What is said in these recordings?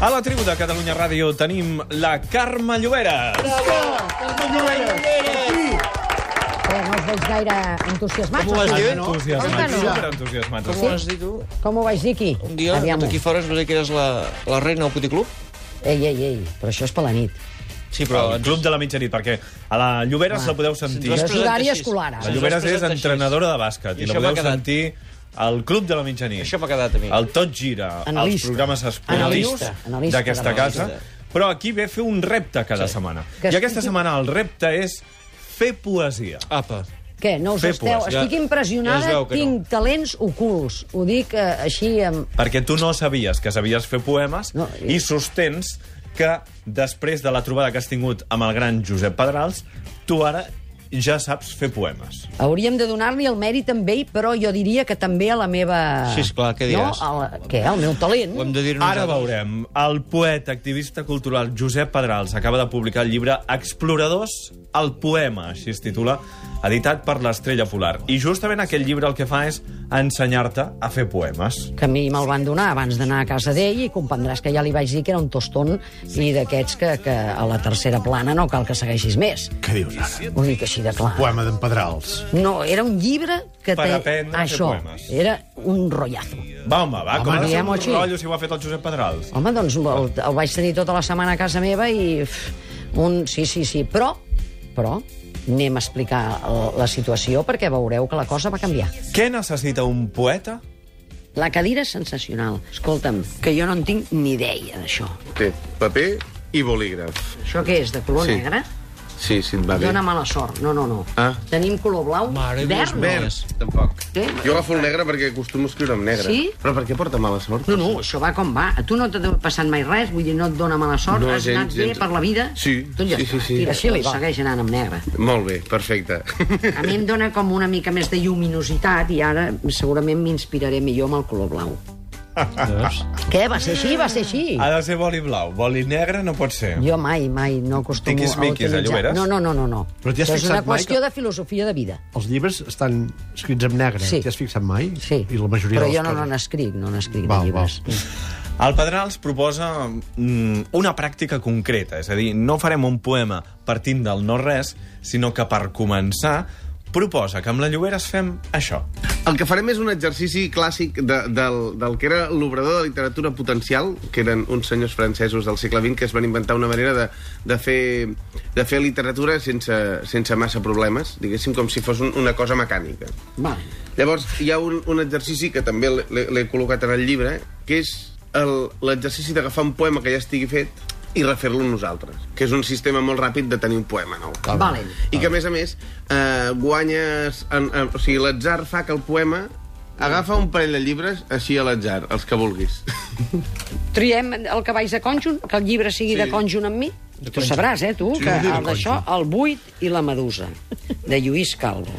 A la tribu de Catalunya Ràdio tenim la Carme Llobera. Però no us veig gaire entusiasmats. Com ho Ah, vas o dir? sí? no? Com Entusiasmats, que no? superentusiasmats. Com ho vas dir tu? Com ho vaig dir aquí? Un dia, Aviam-ho. aquí fora, es va dir que eres la, la reina del puticlub. Ei, ei, ei, però això és per la nit. Sí, Però el club de la mitjanit, perquè a la Llobera se la podeu sentir. Però és presenta horari així. escolar. ara. La Llobera és presenta així. entrenadora de bàsquet i, I la això m'ha podeu quedat. sentir al club de la mitjanit. Això m'ha quedat a mi. El Tot Gira, els Analista. programes esportius Analista. Analista d'aquesta de casa. l'analista. Però aquí ve a fer un repte cada setmana. Que I aquesta estigui- setmana el repte és fer poesia. Apa. Què, no us Fer esteu... pues, ja- Estic ja impressionada, es veu que no. tinc talents ocults. Ho dic eh, així amb... Perquè tu no sabies que sabies fer poemes no, No, i... i- i sostens que després de la trobada que has tingut amb el gran Josep Pedrals, tu ara ja saps fer poemes. Hauríem de donar-li el mèrit també, però jo diria que també a la meva... Sí, esclar, què no? diràs? A la... Què, el meu talent? Ho hem de dir Ara veurem. El poeta, activista cultural Josep Pedrals acaba de publicar el llibre Exploradors, el poema, així es titula, editat per l'Estrella Polar. I justament aquest llibre el que fa és ensenyar-te a fer poemes. que a mi me'l van donar abans d'anar a casa d'ell i comprendràs que ja li vaig dir que era un tostón i d'aquests que, que a la tercera plana no cal que segueixis més. Què dius ara? Ho dic així de clar. Poema d'en Pedrals. No, era un llibre que Per té... aprendre a fer Això, poemes. era un rotllazo. Va, home, va, Home, com ha de ser diguem-ho un així. rotllo si ho ha fet el Josep Pedrals. Home, doncs el, el vaig tenir tota la setmana a casa meva i... uf, Un, sí, sí, sí, però... Però anem a explicar la- la situació perquè veureu que la cosa va canviar. Què necessita un poeta? La cadira és sensacional. Escolta'm, que jo no en tinc ni idea d'això. Té paper i bolígraf. Això què és, de color Sí. negre? Sí, si et va bé. Dóna mala sort. No, no, no. Ah. Tenim color blau, Mare verd, Déu, no. verd. Tampoc. Què? Jo agafo el negre perquè acostumo a escriure en negre. Sí? Però per què porta mala sort? No, no, això va com va. A tu no t'ha passat mai res, vull dir, no et dona mala sort, No, has gens, anat bé gens. per la vida... Sí, doncs ja sí, està, sí, sí. Tira, Així li va. Segueix anant amb negre. Molt bé, perfecte. A mi em dona com una mica més de lluminositat i ara segurament m'inspiraré millor amb el color blau. Què? Va ser així? Va ser així? Ah. Ha de ser boli blau. Boli negre no pot ser. Jo mai, mai no acostumo Tiquis-miquis, a eh, utilitzar... Lloberes? No, no, no, no. no. Però t'hi has Això és fixat una mai qüestió que- de filosofia de vida. Els llibres estan escrits en negre. Sí. T'hi has fixat mai? Sí, I la majoria però de les jo no coses... n'escric, no n'escric de Val, llibres. val. El Pedrals proposa mm, una pràctica concreta, és a dir, no farem un poema partint del no-res, sinó que per començar proposa que amb la Llobera es fem això. El que farem és un exercici clàssic de, del, del que era l'obrador de literatura potencial, que eren uns senyors francesos del segle XX que es van inventar una manera de, de, fer, de fer literatura sense, sense massa problemes, diguéssim, com si fos un, una cosa mecànica. Val. Llavors, hi ha un, un exercici que també l'he- l'he col·locat en el llibre, que és el- l'exercici d'agafar un poema que ja estigui fet i refer-lo nosaltres, que és un sistema molt ràpid de tenir un poema nou. Valent. I que, a més a més, eh, guanyes... En, en, o sigui, l'atzar fa que el poema... Agafa un parell de llibres així a l'atzar, els que vulguis. Triem el que vaig de conjunt, que el llibre sigui sí. de conjunt amb mi. Tu sabràs, eh, tu, sí, que el d'això, el buit i la medusa, de Lluís Calvo.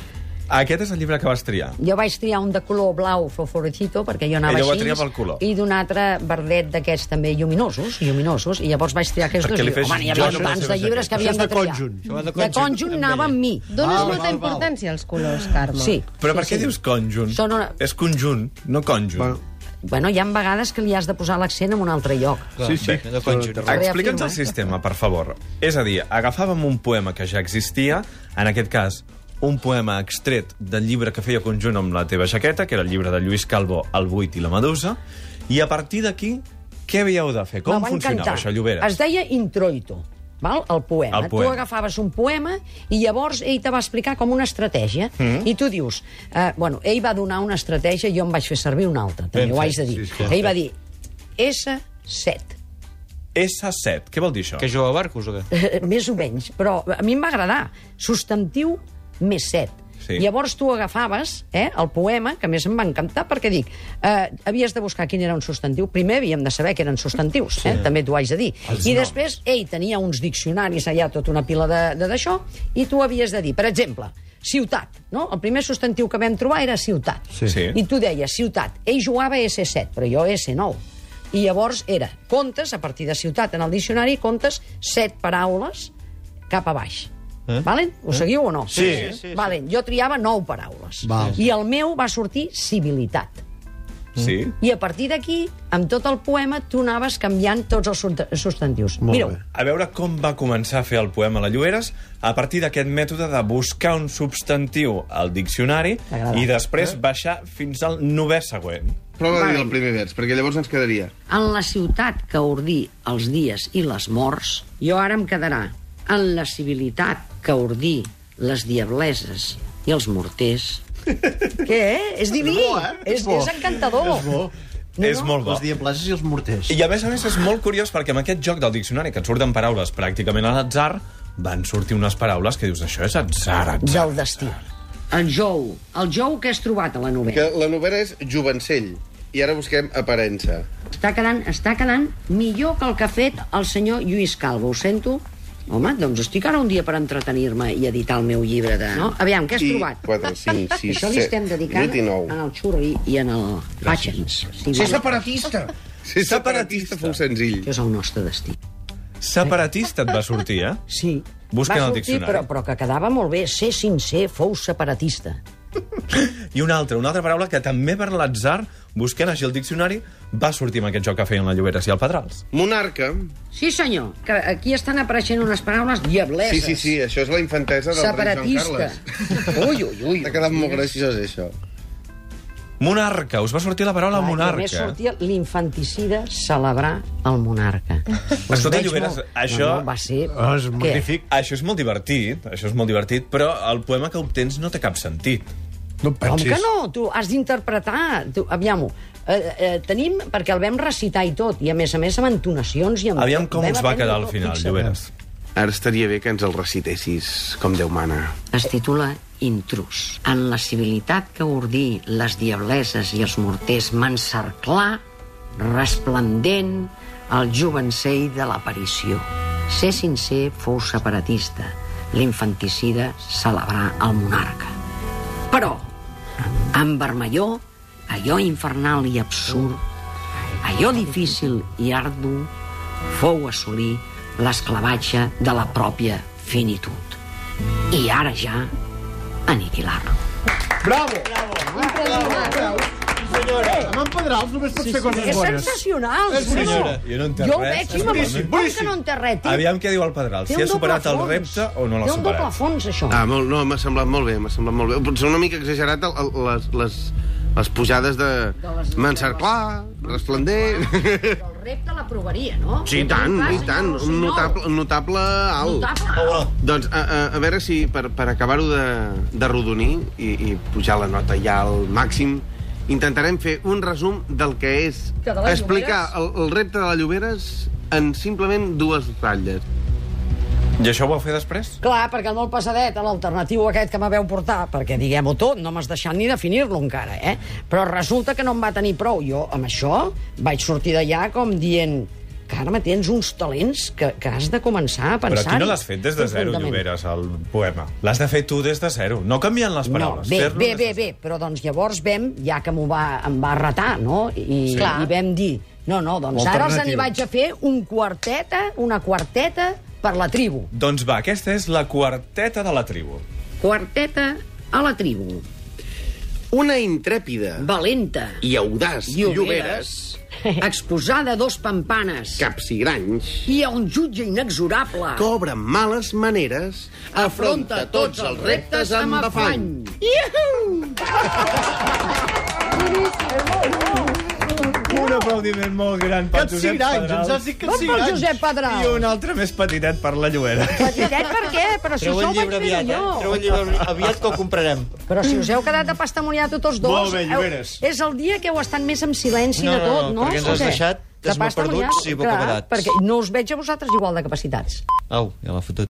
Aquest és el llibre que vas triar. Jo vaig triar un de color blau fosforecito, perquè jo anava Ella ho va així, triar pel color. i d'un altre verdet d'aquests també lluminosos, lluminosos, i llavors vaig triar aquests Perquè dos. li i- fes Home, hi joc havia a la tants seva de llibres que jaqueta. havíem de Això és de triar. conjunt. Això va de De conjunt, conjunt amb anava ella. amb mi. Dones Ah, Val, molta val, val. importància als colors, Carme. Sí. Però sí, per què sí. dius conjunt? Són una- És conjunt, no conjunt. Bueno, Bueno, hi ha vegades que li has de posar l'accent en un altre lloc. Sí, sí. Bé, de conjunt. Reafirma, Explica'ns el eh? sistema, per favor. És a dir, agafàvem un poema que ja existia, en aquest cas, un poema extret del llibre que feia conjunt amb la teva jaqueta, que era el llibre de Lluís Calvo, El buit i la medusa, i a partir d'aquí, què havíeu de fer? Com Me va funcionava encantar. això, Lloberes? Es deia introito. Val? El poema. El poema. Tu agafaves un poema i llavors ell te va explicar com una estratègia mm. i tu dius, eh, bueno, ell va donar una estratègia i jo em vaig fer servir una altra, també Ben ho fet, haig de dir. sí, sí. ell va dir S7. S7, què vol dir això? Que jo a barcos o què? Eh, més o menys, però a mi em va agradar. Substantiu més set. Sí. Sí. Llavors tu agafaves eh, el poema, que a més em va encantar, perquè dic, eh, havies de buscar quin era un substantiu. Primer havíem de saber que eren substantius, sí. eh, també t'ho haig de dir. Els I després ell tenia uns diccionaris allà, tota una pila de- de- d'això, i tu havies de dir, per exemple, ciutat, no? El primer substantiu que vam trobar era ciutat. Sí. Sí. I tu deies ciutat. Ell jugava S7, però jo S9. I llavors era contes, a partir de ciutat en el diccionari, contes set paraules cap a baix. Eh? Valen? Ho seguiu o no? Sí. Sí, sí, Valen. Jo triava nou paraules. Val. I el meu va sortir civilitat. Sí? I a partir d'aquí, amb tot el poema, tu anaves canviant tots els sust- substantius. Molt Mireu, bé. A veure com va començar a fer el poema La Lloberes a partir d'aquest mètode de buscar un substantiu al diccionari M'agrada. i després baixar fins al novè següent. Prova de dir el primer vers, perquè llavors ens quedaria. En la ciutat que ordí els dies i les morts, jo ara em quedarà. En la civilitat que ordí les diableses i els morters. Què? És diví! bo, eh? És, És bo. és encantador! És bo. No, és no? molt bo. Les diableses i els morters. I a més a més és molt curiós perquè amb aquest joc del diccionari que et surten paraules pràcticament a l'atzar van sortir unes paraules que dius això és atzar, atzar. Del destí. El jou. El jou que has trobat a la Que novel·la. la novel·la és Jovencell, i ara busquem aparença. Està quedant, està quedant millor que el que ha fet el senyor Lluís Calvo. Ho sento. Home, doncs estic ara un dia per entretenir-me i editar el meu llibre de... No? Aviam, què has I trobat? 4, 5, 6, Això li estem 7, dedicant 8 i 9. en el xurri i en el Pachens. Sí, Ser separatista. Ser separatista fou senzill. Això és el nostre destí. Separatista et va sortir, eh? Sí. Busca en Va el sortir, diccionari. però, però que quedava molt bé. Ser sincer, fou separatista. I una altra, una altra paraula que també per l'atzar, buscant així el diccionari, va sortir amb aquest joc que feien la Lloberes i el Pedrals. Monarca. Sí, senyor, que aquí estan apareixent unes paraules diableses. Sí, sí, sí, això és la infantesa del rei Joan Separatista. Carles. Ui, ui, ui. T'ha quedat molt graciós, això. Monarca, us va sortir la paraula Ai, monarca. Només sortia l'infanticida celebrar el monarca. Us Escolta, veig Lloberes, molt- això- No, no, va ser... Oh, és Què? magnífic. Això és molt divertit, això és molt divertit, però el poema que obtens no té cap sentit. No em Com pensis. que no? Tu has d'interpretar. Tu, aviam-ho. Eh, eh, tenim, perquè el vam recitar i tot, i a més a més amb entonacions i amb... Aviam com Vam us va aprendre quedar al tot, final, fixa't. Lloberes. Ara estaria bé que ens el recitessis com Déu mana. Es titula Intrus. En la civilitat que ordí les diableses i els morters m'encerclar, resplendent el jovencell de l'aparició. Ser sincer fou separatista, l'infanticida celebrà el monarca. Però, en vermelló, allò infernal i absurd, allò difícil i ardu, fou assolir l'esclavatge de la pròpia finitud i ara ja aniquilar-lo. Bravo! Bravo! Amb en Pedrals només pots fer coses És bones. sensacional, És senyor. boníssim. Jo no entenc Jo ho res, veig i és boníssim, m'emociono. Com que no en té res, té, Aviam què diu el Pedral, té si ha un doble superat el fons. repte o no l'ha Té un doble superat. fons, això. Ah, molt, no, m'ha semblat molt bé, m'ha semblat molt bé. Potser una mica exagerat el, el, les, les, les pujades de... De les- M'encerclar, resplendent... Però el repte l'aprovaria, no? Sí, i tant, Fàcil, i tant. no, Un senyor. notable, un notable alt. Notable. Doncs a, a, a veure si per, per acabar-ho de, de rodonir i, i pujar la nota ja al màxim, intentarem fer un resum del que és Que de les explicar el, el repte de la Lloberes en simplement dues ratlles. I això ho vau fer després? Clar, perquè el molt pesadet, l'alternatiu aquest que m'haveu portat, perquè diguem-ho tot, no m'has deixat ni definir-lo encara, eh? Però resulta que no em va tenir prou. Jo, amb això, vaig sortir d'allà com dient Carme, tens uns talents que, que has de començar a Però pensar... tu no l'has fet des de zero, Lloberes, el poema. L'has de fer tu des de zero, no canviant les paraules. No, bé, fer-lo bé, des de bé, bé, però doncs llavors vam, ja que m'ho va, em va retar, no? I, sí. i vam dir, no, no, doncs ara els n'hi Alternativa. vaig a fer un quarteta, una quarteta per la tribu. Doncs va, aquesta és la quarteta de la tribu. Quarteta a la tribu. Una intrèpida Valenta. i audaç Lloberes, Lloberes. Exposada a dos pampanes. capsigranys, I a un jutge inexorable. cobra males maneres, afronta tots els reptes amb afany. Un aplaudiment molt gran per Josep Capsigranys, Pedrals. ens has dit Com pel capsigranys. Josep Pedral. I un altre més petitet per la Llobera. Petitet per què? Eh, Però si Treu això el ho vaig llibre fer aviat, eh? Treu jo. el llibre aviat que el comprarem. Però si us heu quedat a pastamoniar tots els dos... Molt bé, heu- Lloberes. És el dia que heu estat més en silenci No, de no, tot, no, no? perquè ens O has què? deixat De desmaperduts pastamoniar? i bocabadats. Clar, perquè no us veig a vosaltres igual de capacitats. Au, ja l'ha fotut.